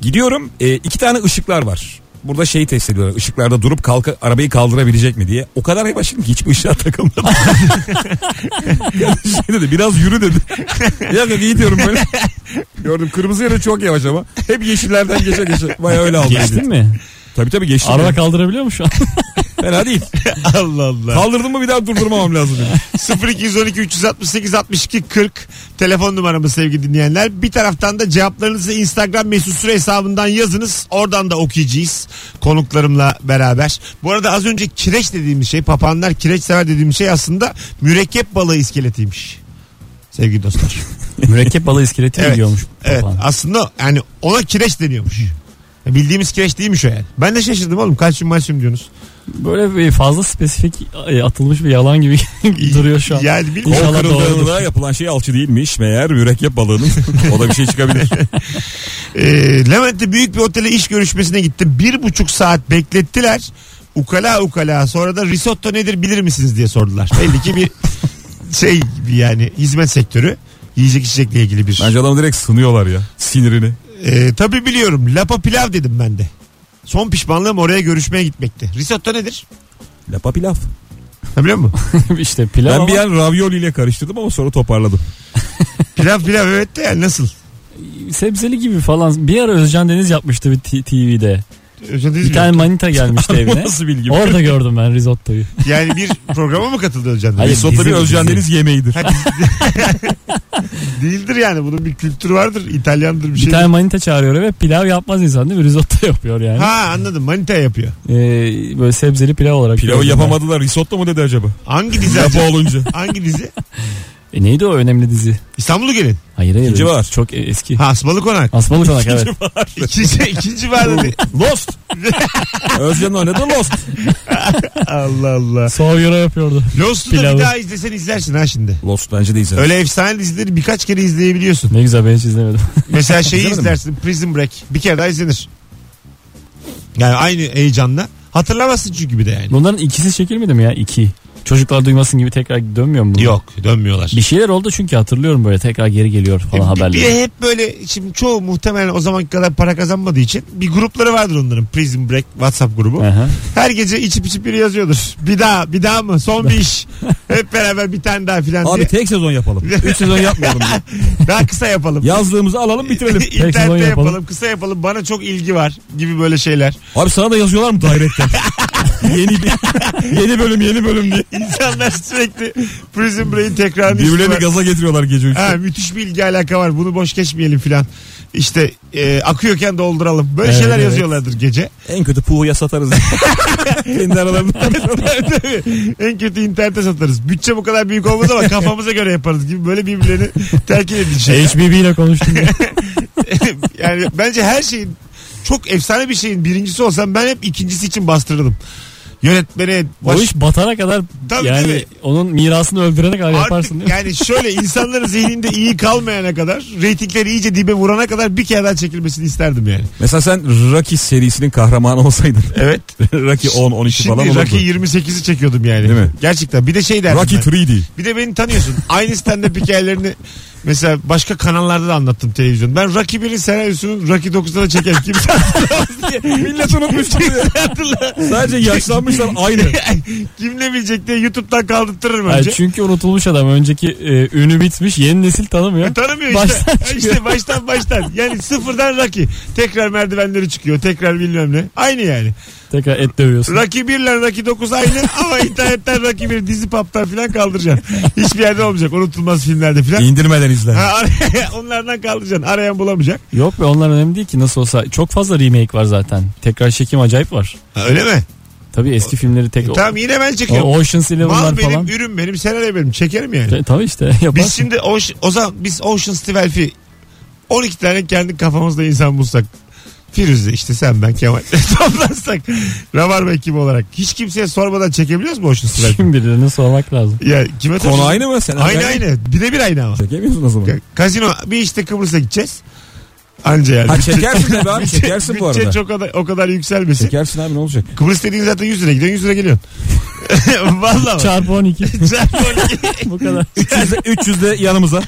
Gidiyorum e, iki tane ışıklar var. Burada şeyi test ediyorlar. Işıklarda durup kalka, arabayı kaldırabilecek mi diye. O kadar yavaşım ki hiçbir ışığa takılmadım. şey dedi biraz yürü dedi. yok yok iyi diyorum böyle. Gördüm kırmızı yere çok yavaş ama. Hep yeşillerden geçe geçe. Baya öyle aldı. Geçtin mi? Tabii tabii geçtim. Araba yani. kaldırabiliyor mu şu an? Fena değil. Allah Allah. Kaldırdım mı bir daha durdurmamam lazım. yani. 0212 368 62 40 telefon numaramı sevgili dinleyenler. Bir taraftan da cevaplarınızı Instagram mesut süre hesabından yazınız. Oradan da okuyacağız konuklarımla beraber. Bu arada az önce kireç dediğimiz şey papanlar kireç sever dediğimiz şey aslında mürekkep balığı iskeletiymiş. Sevgili dostlar. Mürekkep balığı iskeleti mi Evet. diyormuş Evet papağan? aslında yani ona kireç deniyormuş. Bildiğimiz kireç değilmiş o yani. Ben de şaşırdım oğlum kalsiyum malsiyum diyorsunuz. Böyle bir fazla spesifik e, atılmış bir yalan gibi duruyor şu an. Yani Kol bilmiyorum. İnşallah doğrudur. kırıldığında yapılan şey alçı değilmiş. Meğer mürekkep balığının o da bir şey çıkabilir. Ee, Levent'te büyük bir otele iş görüşmesine gittim. Bir buçuk saat beklettiler. Ukala ukala sonra da risotto nedir bilir misiniz diye sordular. Belli ki bir şey yani hizmet sektörü yiyecek içecekle ilgili bir. Bence adamı direkt sınıyorlar ya sinirini. Ee, tabii biliyorum lapa pilav dedim ben de. Son pişmanlığım oraya görüşmeye gitmekti. Risotto nedir? Lapa pilav. Ha, biliyor musun? işte pilav Ben ama bir an ravioli ile karıştırdım ama sonra toparladım. pilav pilav evet de yani nasıl? sebzeli gibi falan. Bir ara Özcan Deniz yapmıştı bir T- TV'de. Özlediniz Bir mi? tane manita gelmişti Bu evine. nasıl bilgi? Orada gördüm ben risottoyu. Yani bir programa mı katıldı Özcan Deniz? Hayır, Risotto bir bizim- Özcan bizim. Deniz yemeğidir. Değildir yani bunun bir kültürü vardır. İtalyandır bir Bir şey. tane manita çağırıyor ve pilav yapmaz insan değil mi? Risotto yapıyor yani. Ha anladım manita yapıyor. Ee, böyle sebzeli pilav olarak. Pilavı gördüm ben. yapamadılar. Risotto mu dedi acaba? Hangi dizi? Lapa acaba? olunca. Hangi dizi? E neydi o önemli dizi? İstanbul'u gelin. Hayır hayır. İkinci var. Çok e- eski. Ha Asmalı Konak. Asmalı Konak evet. İkinci, ikinci var dedi. Lost. Özcan oynadı Lost. Allah Allah. Soğuyora yapıyordu. Lost'u da bir Pilavı. daha izlesen izlersin ha şimdi. Lost bence de izler. Öyle efsane dizileri birkaç kere izleyebiliyorsun. Ne güzel ben hiç izlemedim. Mesela şeyi İzlemedin izlersin Prison Break. Bir kere daha izlenir. Yani aynı heyecanla. Hatırlamazsın çünkü bir de yani. Bunların ikisi çekilmedi mi ya? İki. Çocuklar duymasın gibi tekrar dönmüyor mu? bu? Yok dönmüyorlar. Bir şeyler oldu çünkü hatırlıyorum böyle tekrar geri geliyor falan Bir- haberler. Bir de hep böyle şimdi çoğu muhtemelen o zamanki kadar para kazanmadığı için bir grupları vardır onların. Prison Break WhatsApp grubu. Aha. Her gece içip içip biri yazıyordur. Bir daha bir daha mı? Son bir iş. Hep beraber bir tane daha filan diye. Abi tek sezon yapalım. Üç sezon yapmayalım. diye. Daha kısa yapalım. Yazdığımızı alalım bitirelim. sezon İnternette yapalım. yapalım, kısa yapalım. Bana çok ilgi var gibi böyle şeyler. Abi sana da yazıyorlar mı Direct'ten? yeni bir- yeni bölüm yeni bölüm diye. İnsanlar sürekli Prison Break'in tekrarını Birbirlerini istiyorlar. gaza getiriyorlar gece üçte. Ha, müthiş bir ilgi alaka var. Bunu boş geçmeyelim filan. İşte e, akıyorken dolduralım. Böyle Evet, şeyler evet. yazıyorlardır gece. En kötü puhuya satarız. Kendi aralarında. En kötü internete satarız. Bütçe bu kadar büyük olmaz ama kafamıza göre yaparız gibi böyle birbirlerini terkin edecek. HBB ile konuştum. ya. yani bence her şeyin çok efsane bir şeyin birincisi olsam ben hep ikincisi için bastırırdım. Yönetmene o baş- iş batana kadar Tabii, yani tabii. onun mirasını öldürene kadar yaparsın Artık değil mi? yani şöyle insanların zihninde iyi kalmayana kadar reytingleri iyice dibe vurana kadar bir kere daha çekilmesini isterdim yani. Mesela sen Rocky serisinin kahramanı olsaydın. Evet. Rocky 10, 12 falan Şimdi olurdu. Rocky 28'i çekiyordum yani. Değil mi? Gerçekten. Bir de şey derdim Rocky ben. 3D. Bir de beni tanıyorsun. Aynı stand-up hikayelerini mesela başka kanallarda da anlattım televizyon. Ben Rocky 1'in senaryosunun Rocky 9'da da çeken kimse Millet unutmuş hatırla. Sadece yaşlanmışlar aynı. Kim ne bilecek diye YouTube'dan kaldırtırırım Yani önce. çünkü unutulmuş adam önceki e, ünü bitmiş yeni nesil tanımıyor. E, Tanımıyor işte. Baştan Baştan işte baştan baştan. Yani sıfırdan Rocky. Tekrar merdivenleri çıkıyor. Tekrar bilmem ne. Aynı yani. Tekrar et dövüyorsun. Rocky 1 ile Rocky 9 aynı ama internetten Rocky 1 dizi paptan filan kaldıracaksın. Hiçbir yerde olmayacak. Unutulmaz filmlerde filan. İndirmeden izler. Ha, araya- onlardan kaldıracaksın. Arayan bulamayacak. Yok be onlar önemli değil ki nasıl olsa. Çok fazla remake var zaten. Tekrar çekim acayip var. Ha, öyle mi? Tabii eski filmleri tek... Tamam yine ben çekiyorum. o, Ocean's Eleven'lar Mal benim, falan. ürün benim, senaryo benim. Çekerim yani. Te- Tabii işte yaparsın. Biz şimdi Oce- o zaman biz Ocean's 12 12 tane kendi kafamızda insan bulsak. Firuze işte sen ben Kemal toplansak. Rabarba ekibi olarak. Hiç kimseye sormadan çekebiliyoruz mu Ocean's 12? Kim bilir ne sormak lazım. ya kime Konu soracağız? aynı mı? Sen Aynı aynı. Birebir aynı ama. Çekemiyorsun o zaman. Ya, Kazino bir işte Kıbrıs'a gideceğiz. Anca yani. Ha Bütçe- çekersin tabii abi çekersin bu bütçe arada. çok o kadar, o kadar yükselmesin. Çekersin abi ne olacak? Kıbrıs dediğin zaten 100 lira gidiyorsun 100 lira geliyorsun. Valla bak. Çarpı 12. Çarpı on iki. Bu kadar. 300 de, 300 de yanımıza.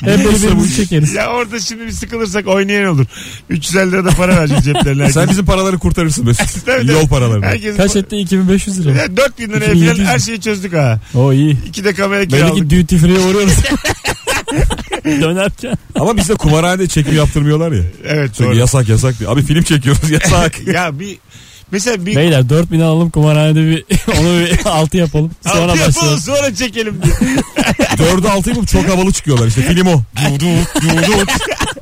Hep birbirimizi çekeriz. Ya orada şimdi bir sıkılırsak oynayan olur. 350 lira da para vereceğiz ceplerine. herkes. Sen bizim paraları kurtarırsın Mesut. Tabii, tabii. Yol paralarını. Herkes Kaç etti? 2500 lira. Ya 4000 liraya 2700 falan her şeyi çözdük ha. O iyi. İki de kamera Belli kiraladık. ki duty free'ye uğruyoruz. Dönerken. Ama bizde kumarhanede çekim yaptırmıyorlar ya. Evet Çünkü doğru. yasak yasak diyor. Abi film çekiyoruz yasak. ya bir mesela bir Beyler 4000 alalım kumarhanede bir onu bir 6 yapalım. Altı Sonra yapalım, başlayalım. sonra çekelim diye. Dördü altı yapıp çok havalı çıkıyorlar işte. Film o. Du du du du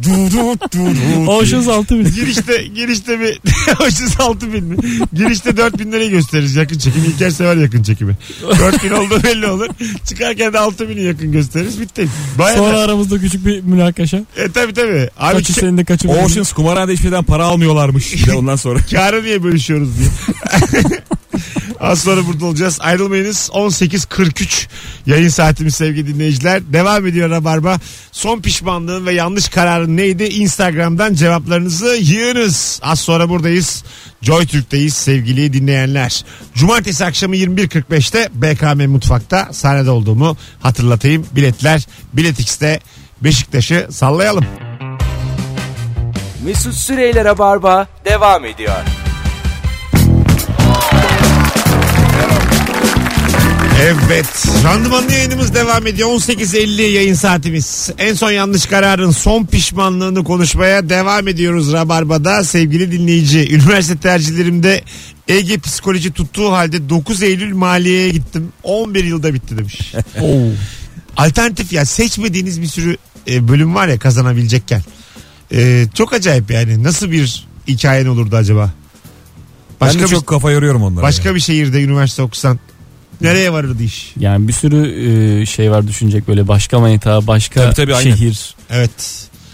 du du du du. Ocean's 6000. girişte girişte bir 36 bin mi? Girişte 4 bin lirayı gösteririz yakın çekimi. İlker sever yakın çekimi. 4 bin olduğu belli olur. Çıkarken de 6 bini yakın gösteririz. Bitti. Bayağı Sonra aramızda küçük bir münakaşa. E tabi tabi. Abi Kaçı ki- senin de kaçı benim de. Oceans kumarhanede hiçbir şeyden para almıyorlarmış. Bir de ondan sonra. karı niye bölüşüyoruz diye. Az sonra burada olacağız. Ayrılmayınız. 18.43 yayın saatimiz sevgili dinleyiciler. Devam ediyor Rabarba. Son pişmanlığın ve yanlış kararın neydi? Instagram'dan cevaplarınızı yığınız. Az sonra buradayız. Joy Türk'teyiz sevgili dinleyenler. Cumartesi akşamı 21.45'te BKM Mutfak'ta sahnede olduğumu hatırlatayım. Biletler Biletix'te Beşiktaş'ı sallayalım. Mesut Süreyler'e barba devam ediyor. Evet. Randımanlı yayınımız devam ediyor. 18.50 yayın saatimiz. En son yanlış kararın son pişmanlığını konuşmaya devam ediyoruz Rabarba'da. Sevgili dinleyici, üniversite tercihlerimde Ege psikoloji tuttuğu halde 9 Eylül maliyeye gittim. 11 yılda bitti demiş. Alternatif ya seçmediğiniz bir sürü e, bölüm var ya kazanabilecekken. E, çok acayip yani. Nasıl bir hikayen olurdu acaba? Başka ben de bir, çok kafa yoruyorum onlara. başka bir şehirde üniversite okusan nereye varırdı iş? Yani bir sürü e, şey var düşünecek böyle başka manita, başka Tabii, tabii, aynen. şehir. Evet.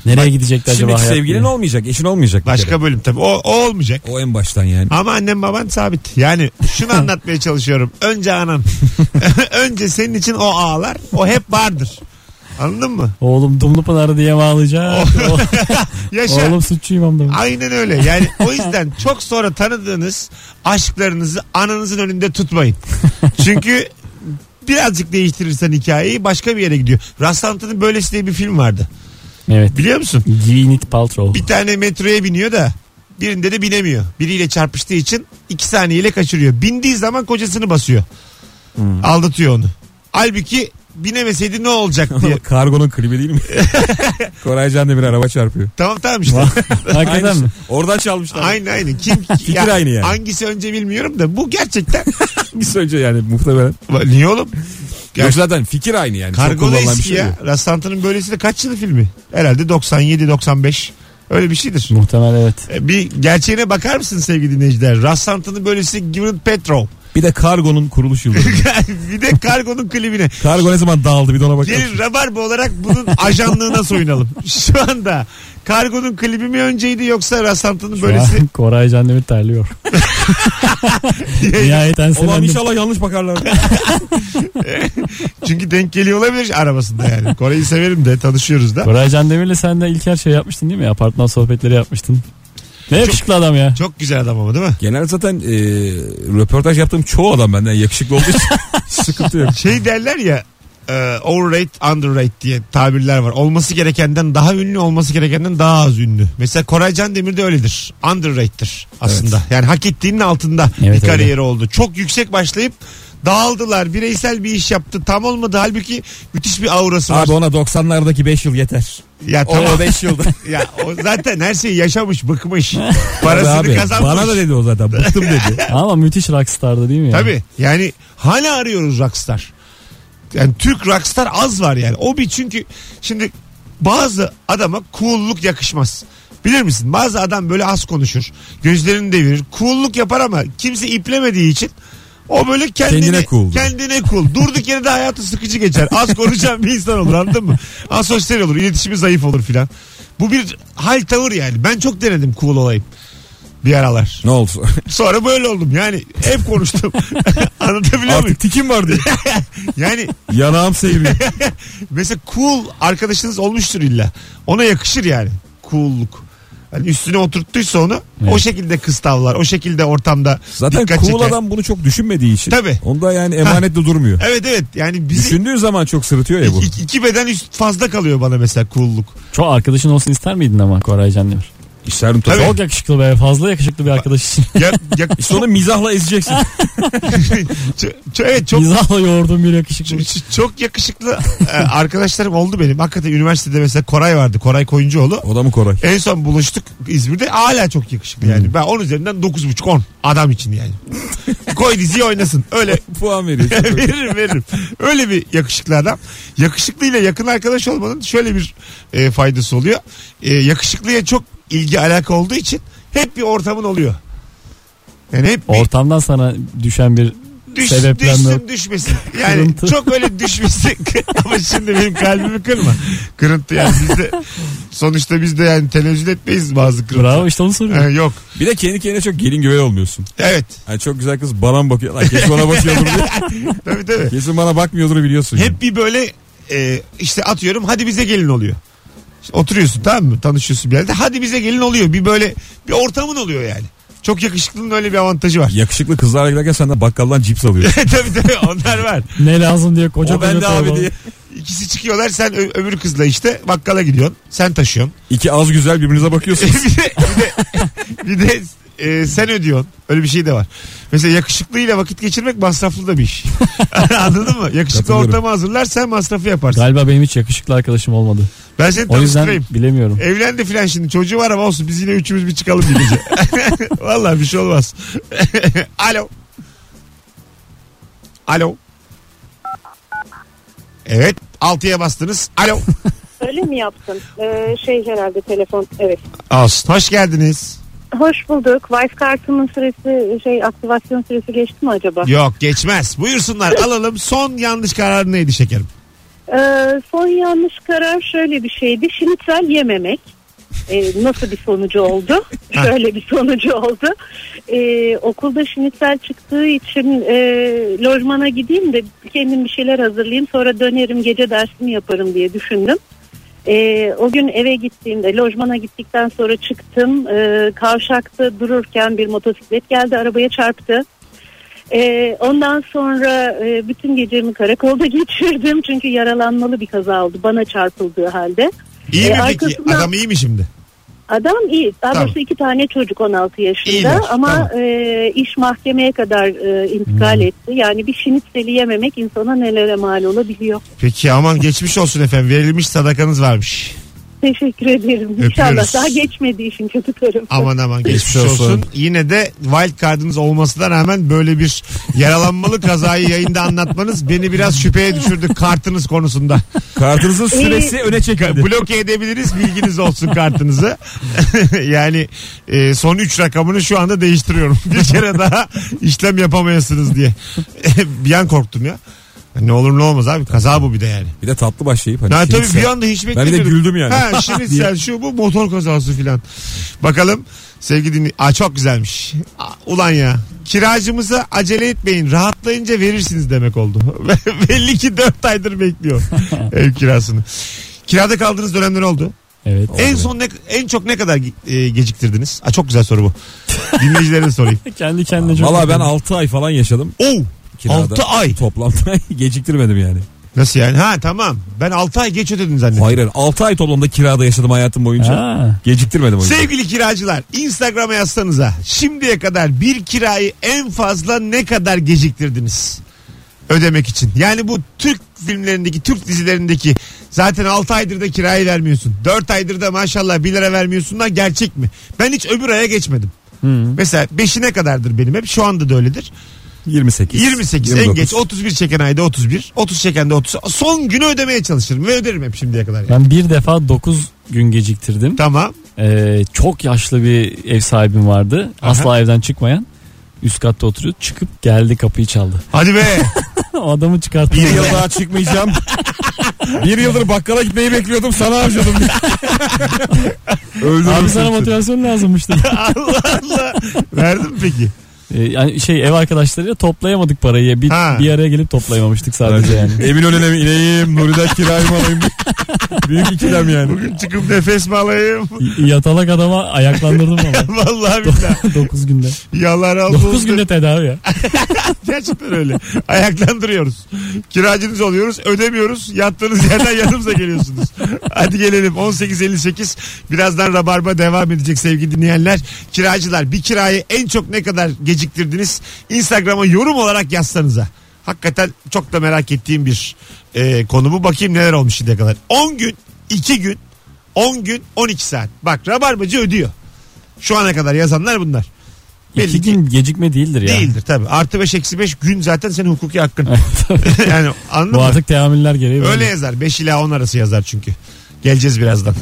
Nereye gidecekler yani. acaba Şimdiki hayat? şey sevgilin diye. olmayacak. Eşin olmayacak. bir kere. Başka bölüm tabii. O, o olmayacak. O en baştan yani. Ama annem baban sabit. Yani şunu anlatmaya çalışıyorum. Önce anan. Önce senin için o ağlar. O hep vardır. Anladın mı? Oğlum dumlu pınarı diye bağlayacak. Yaşa. Oğlum suçluyum amda. Aynen öyle. Yani o yüzden çok sonra tanıdığınız aşklarınızı ananızın önünde tutmayın. Çünkü birazcık değiştirirsen hikayeyi başka bir yere gidiyor. Rastlantının böylesi diye bir film vardı. Evet. Biliyor musun? Gwyneth Paltrow. Bir tane metroya biniyor da birinde de binemiyor. Biriyle çarpıştığı için iki saniyeyle kaçırıyor. Bindiği zaman kocasını basıyor. Hmm. Aldatıyor onu. Halbuki binemeseydi ne olacak diye. Kargonun klibi değil mi? Koray Can Demir araba çarpıyor. tamam tamam işte. Hakikaten Aynısı. mi? Oradan çalmışlar. aynı aynı. Kim Fikir aynı yani. Hangisi önce bilmiyorum da bu gerçekten. Hangisi önce yani muhtemelen. Niye oğlum? Ger- Yok zaten fikir aynı yani. Çok Kargo da kullanılan bir eski şey ya. değil. Rastlantı'nın böylesi de kaç yılı filmi? Herhalde 97-95. Öyle bir şeydir. Muhtemel evet. E, Bir gerçeğine bakar mısın sevgili dinleyiciler? Rastlantı'nın böylesi Gwyneth Petrov. Bir de kargonun kuruluş yılı. bir de kargonun klibine. Kargo ne zaman dağıldı bir de ona bakalım. Gelin Rabarba olarak bunun ajanlığına soyunalım. Şu anda kargonun klibi mi önceydi yoksa rastlantının böylesi Böylesi... Koray Can Demir terliyor. Nihayet Ulan enselendim. inşallah yanlış bakarlar. çünkü denk geliyor olabilir arabasında yani. Kore'yi severim de tanışıyoruz da. Koray Can Demir'le sen de İlker şey yapmıştın değil mi? Apartman sohbetleri yapmıştın. Ne yakışıklı adam ya. Çok güzel adam ama değil mi? Genel zaten e, röportaj yaptığım çoğu adam benden yakışıklı olduğu için sıkıntı yok. Şey derler ya e, overrated underrated diye tabirler var. Olması gerekenden daha ünlü olması gerekenden daha az ünlü. Mesela Koray Can Demir de öyledir. Underrated'tir aslında. Yani hak ettiğinin altında Evet, bir öyle. kariyeri oldu. Çok yüksek başlayıp dağıldılar. Bireysel bir iş yaptı. Tam olmadı. Halbuki müthiş bir aurası var. Abi ona 90'lardaki 5 yıl yeter. ya O tamam. 5 yılda. Ya o zaten her şeyi yaşamış, bıkmış. Parasını Abi, kazanmış. bana da dedi o zaten. Bıktım dedi. Ama müthiş rockstardı değil mi ya? Tabii. Yani hala arıyoruz rockstar. Yani Türk rockstar az var yani. O bir çünkü şimdi bazı adama cool'luk yakışmaz. Bilir misin? Bazı adam böyle az konuşur. Gözlerini devirir. Cool'luk yapar ama kimse iplemediği için o böyle kendini, Kendine cool'dur. Kendine cool. Durduk yere de hayatı sıkıcı geçer. Az konuşan bir insan olur anladın mı? Asosyal olur. iletişimi zayıf olur filan. Bu bir hal tavır yani. Ben çok denedim cool olayım. Bir aralar. Ne oldu? Sonra böyle oldum yani hep konuştum. Anlatabiliyor muyum? Artık tikim var diye. Yani Yanağım seyiriyor. mesela cool arkadaşınız olmuştur illa. Ona yakışır yani cool'luk. Hani üstüne oturttuysa onu o Evet. şekilde kıstavlar. O şekilde ortamda Zaten dikkat cool çeker. adam bunu çok düşünmediği için. Tabii. Onda yani emanetle durmuyor. Evet evet yani bizi Düşündüğü zaman çok sırıtıyor ya bu. İ- iki beden üst fazla kalıyor bana mesela cool'luk. Çok arkadaşın olsun ister miydin ama Koray Candemir? İşlerim Tabii. tabii. Çok yakışıklı be. Fazla yakışıklı bir arkadaş için. Ya, ya, Sonra mizahla ezeceksin. Ç- ç- evet çok Mizahla yoğurduğum bir yakışıklı. ç- çok yakışıklı e, arkadaşlarım oldu benim. Hakikaten üniversitede mesela Koray vardı. Koray Koyuncuoğlu. o da mı Koray? En son buluştuk İzmir'de. Hala çok yakışıklı Hmm. yani. Ben 10 üzerinden 9.5 10 adam için yani. Koy diziyi oynasın. Öyle Puan veriyor. veririm veririm. Öyle bir yakışıklı adam. Yakışıklıyla yakın arkadaş olmanın şöyle bir e, faydası oluyor. E, yakışıklıya çok ilgi alaka olduğu için hep bir ortamın oluyor. Yani hep bir Ortamdan sana düşen bir düş, sebeplenme düşsün yok. düşmesin. Yani Kırıntı. çok öyle düşmesin. Ama şimdi benim kalbimi kırma. Kırıntı yani biz de sonuçta biz de yani tenezzül etmeyiz bazı kırıntı. bravo işte onu soruyorum. Ha, yok. Bir de kendi kendine çok gelin güvey olmuyorsun. Evet. Yani çok güzel kız bana mı bakıyor? Lan kesin bana bakıyordur diye. Tabii tabii. Kesin bana bakmıyordur biliyorsun. yani. Hep bir böyle e, işte atıyorum hadi bize gelin oluyor. İşte oturuyorsun tamam mı? Tanışıyorsun bir yerde. Hadi bize gelin oluyor. Bir böyle bir ortamın oluyor yani. Çok yakışıklının öyle bir avantajı var. E, Yakışıklı kızlarla giderken sen de bakkaldan cips alıyorsun. tabii tabii onlar var. Ne lazım diye koca o bende koca abi torba. diye. İkisi çıkıyorlar sen ö- öbür kızla işte bakkala gidiyorsun. Sen taşıyorsun. İki az güzel birbirinize bakıyorsunuz. bir de, bir de, bir de e, sen ödüyorsun. Öyle bir şey de var. Mesela yakışıklıyla vakit geçirmek masraflı da bir iş. Anladın mı? Yakışıklı Katılıyorum. ortamı hazırlar sen masrafı yaparsın. Galiba benim hiç yakışıklı arkadaşım olmadı. Ben seni O yüzden tanıştırayım. bilemiyorum. Evlendi filan şimdi çocuğu var ama olsun biz yine üçümüz bir çıkalım bir gece. Vallahi bir şey olmaz. Alo. Alo. Evet 6'ya bastınız. Alo. Öyle mi yaptın? Ee, şey herhalde telefon evet. Olsun. Hoş geldiniz. Hoş bulduk. Vice kartımın süresi şey aktivasyon süresi geçti mi acaba? Yok geçmez. Buyursunlar alalım. Son yanlış kararı neydi şekerim? Ee, son yanlış karar şöyle bir şeydi. Şinitsel yememek. Ee, nasıl bir sonucu oldu? şöyle bir sonucu oldu. Ee, okulda şinitsel çıktığı için e, lojmana gideyim de kendim bir şeyler hazırlayayım. Sonra dönerim gece dersimi yaparım diye düşündüm. Ee, o gün eve gittiğimde lojmana gittikten sonra çıktım. Ee, kavşakta dururken bir motosiklet geldi arabaya çarptı. Ee, ondan sonra e, bütün gecemi karakolda geçirdim çünkü yaralanmalı bir kaza oldu bana çarpıldığı halde. İyi Ee, mi peki? arkasından- Adam iyi mi şimdi? Adam iyi. Daha Tamam. doğrusu iki tane çocuk 16 yaşında İyiler, ama tamam. Hmm. e, iş mahkemeye kadar e, intikal etti. Yani bir şinitseli yememek insana nelere mal olabiliyor. Peki aman geçmiş olsun efendim. Verilmiş sadakanız varmış. Teşekkür ederim. Öpüyoruz. İnşallah daha geçmedi işin kötü tarafı. Aman aman geçmiş Geçmiş olsun. olsun. Yine de wild card'ınız olmasına rağmen böyle bir yaralanmalı kazayı yayında anlatmanız beni biraz şüpheye düşürdü kartınız konusunda. Kartınızın süresi öne çekildi. Bloke edebiliriz bilginiz olsun kartınızı. yani e, son 3 rakamını şu anda değiştiriyorum. bir kere daha işlem yapamayasınız diye. bir an korktum ya. Ne olur ne olmaz abi kaza bu bir de yani. Bir de tatlı başlayıp hani. Ben tabii kimse- bir anda hiç de beklemiyordum. güldüm yani. Ha, şimdi sen şu bu motor kazası filan. Bakalım sevgili dinli... Aa, çok güzelmiş. Aa, ulan ya. Kiracımıza acele etmeyin. Rahatlayınca verirsiniz demek oldu. Belli ki 4 aydır bekliyor ev kirasını. Kirada kaldığınız dönemler oldu. Evet. en son ne, en çok ne kadar ge- e, geciktirdiniz? Aa, çok güzel soru bu. Dinleyicilere de sorayım. Kendi kendine çok. Valla ben 6 ay falan yaşadım Oo, kirada. 6 ay. Toplamda geciktirmedim yani. Nasıl yani? Ha tamam. Ben 6 ay geç ödedim zannettim. Hayır hayır 6 ay toplamda kirada yaşadım hayatım boyunca. Ha. Geciktirmedim o yüzden. Sevgili kiracılar Instagram'a yazsanıza şimdiye kadar bir kirayı en fazla ne kadar geciktirdiniz ödemek için? Yani bu Türk filmlerindeki Türk dizilerindeki zaten 6 aydır da kirayı vermiyorsun 4 aydır da maşallah 1 lira vermiyorsun da gerçek mi? Ben hiç öbür aya geçmedim. Mesela 5'ine kadardır benim hep şu anda da öyledir. 28. 28 en 29. geç 31 çeken ayda 31 30 çeken de 30 son günü ödemeye çalışırım ve öderim hep şimdiye kadar. yani. Ben bir defa 9 gün geciktirdim. Tamam Ee, çok yaşlı bir ev sahibim vardı. Aha. Asla evden çıkmayan. Üst katta oturuyor. Çıkıp geldi kapıyı çaldı. hadi be o adamı çıkarttı. Bir yıl daha çıkmayacağım. bir yıldır bakkala gitmeyi bekliyordum sana harcadım. Öldürürsün. Abi sana motivasyon lazımmıştı. Allah Allah verdim peki. Ee, yani şey ev arkadaşlarıyla toplayamadık parayı. Bir, Ha. bir araya gelip toplayamamıştık sadece yani. Emin önüne mi ineyim? Nuri'den kirayı mı alayım? Büyük ikilem yani. Bugün çıkıp nefes mi alayım? Y- Yatalak adama ayaklandırdım ama. Vallahi billahi. 9 günde. Yalan aldı. 9 günde tedavi ya. Gerçekten öyle. Ayaklandırıyoruz. Kiracınız oluyoruz. Ödemiyoruz. Yattığınız yerden yanımıza geliyorsunuz. Hadi gelelim. 18.58. Birazdan Rabarba devam edecek sevgili dinleyenler. Kiracılar bir kirayı en çok ne kadar geciktirdiniz? Instagram'a yorum olarak yazsanıza. Hakikaten çok da merak ettiğim bir e, konu bu. Bakayım neler olmuş şimdiye kadar. 10 gün, 2 gün, 10 gün, 12 saat. Bak Rabarbacı ödüyor. Şu ana kadar yazanlar bunlar. 2 ki- gün gecikme değildir ya. Değildir tabii. Artı 5 eksi 5 gün zaten senin hukuki hakkın. yani anladın Bu mı? artık teamüller gereği. böyle. Öyle yazar. 5 ila 10 arası yazar çünkü. Geleceğiz birazdan.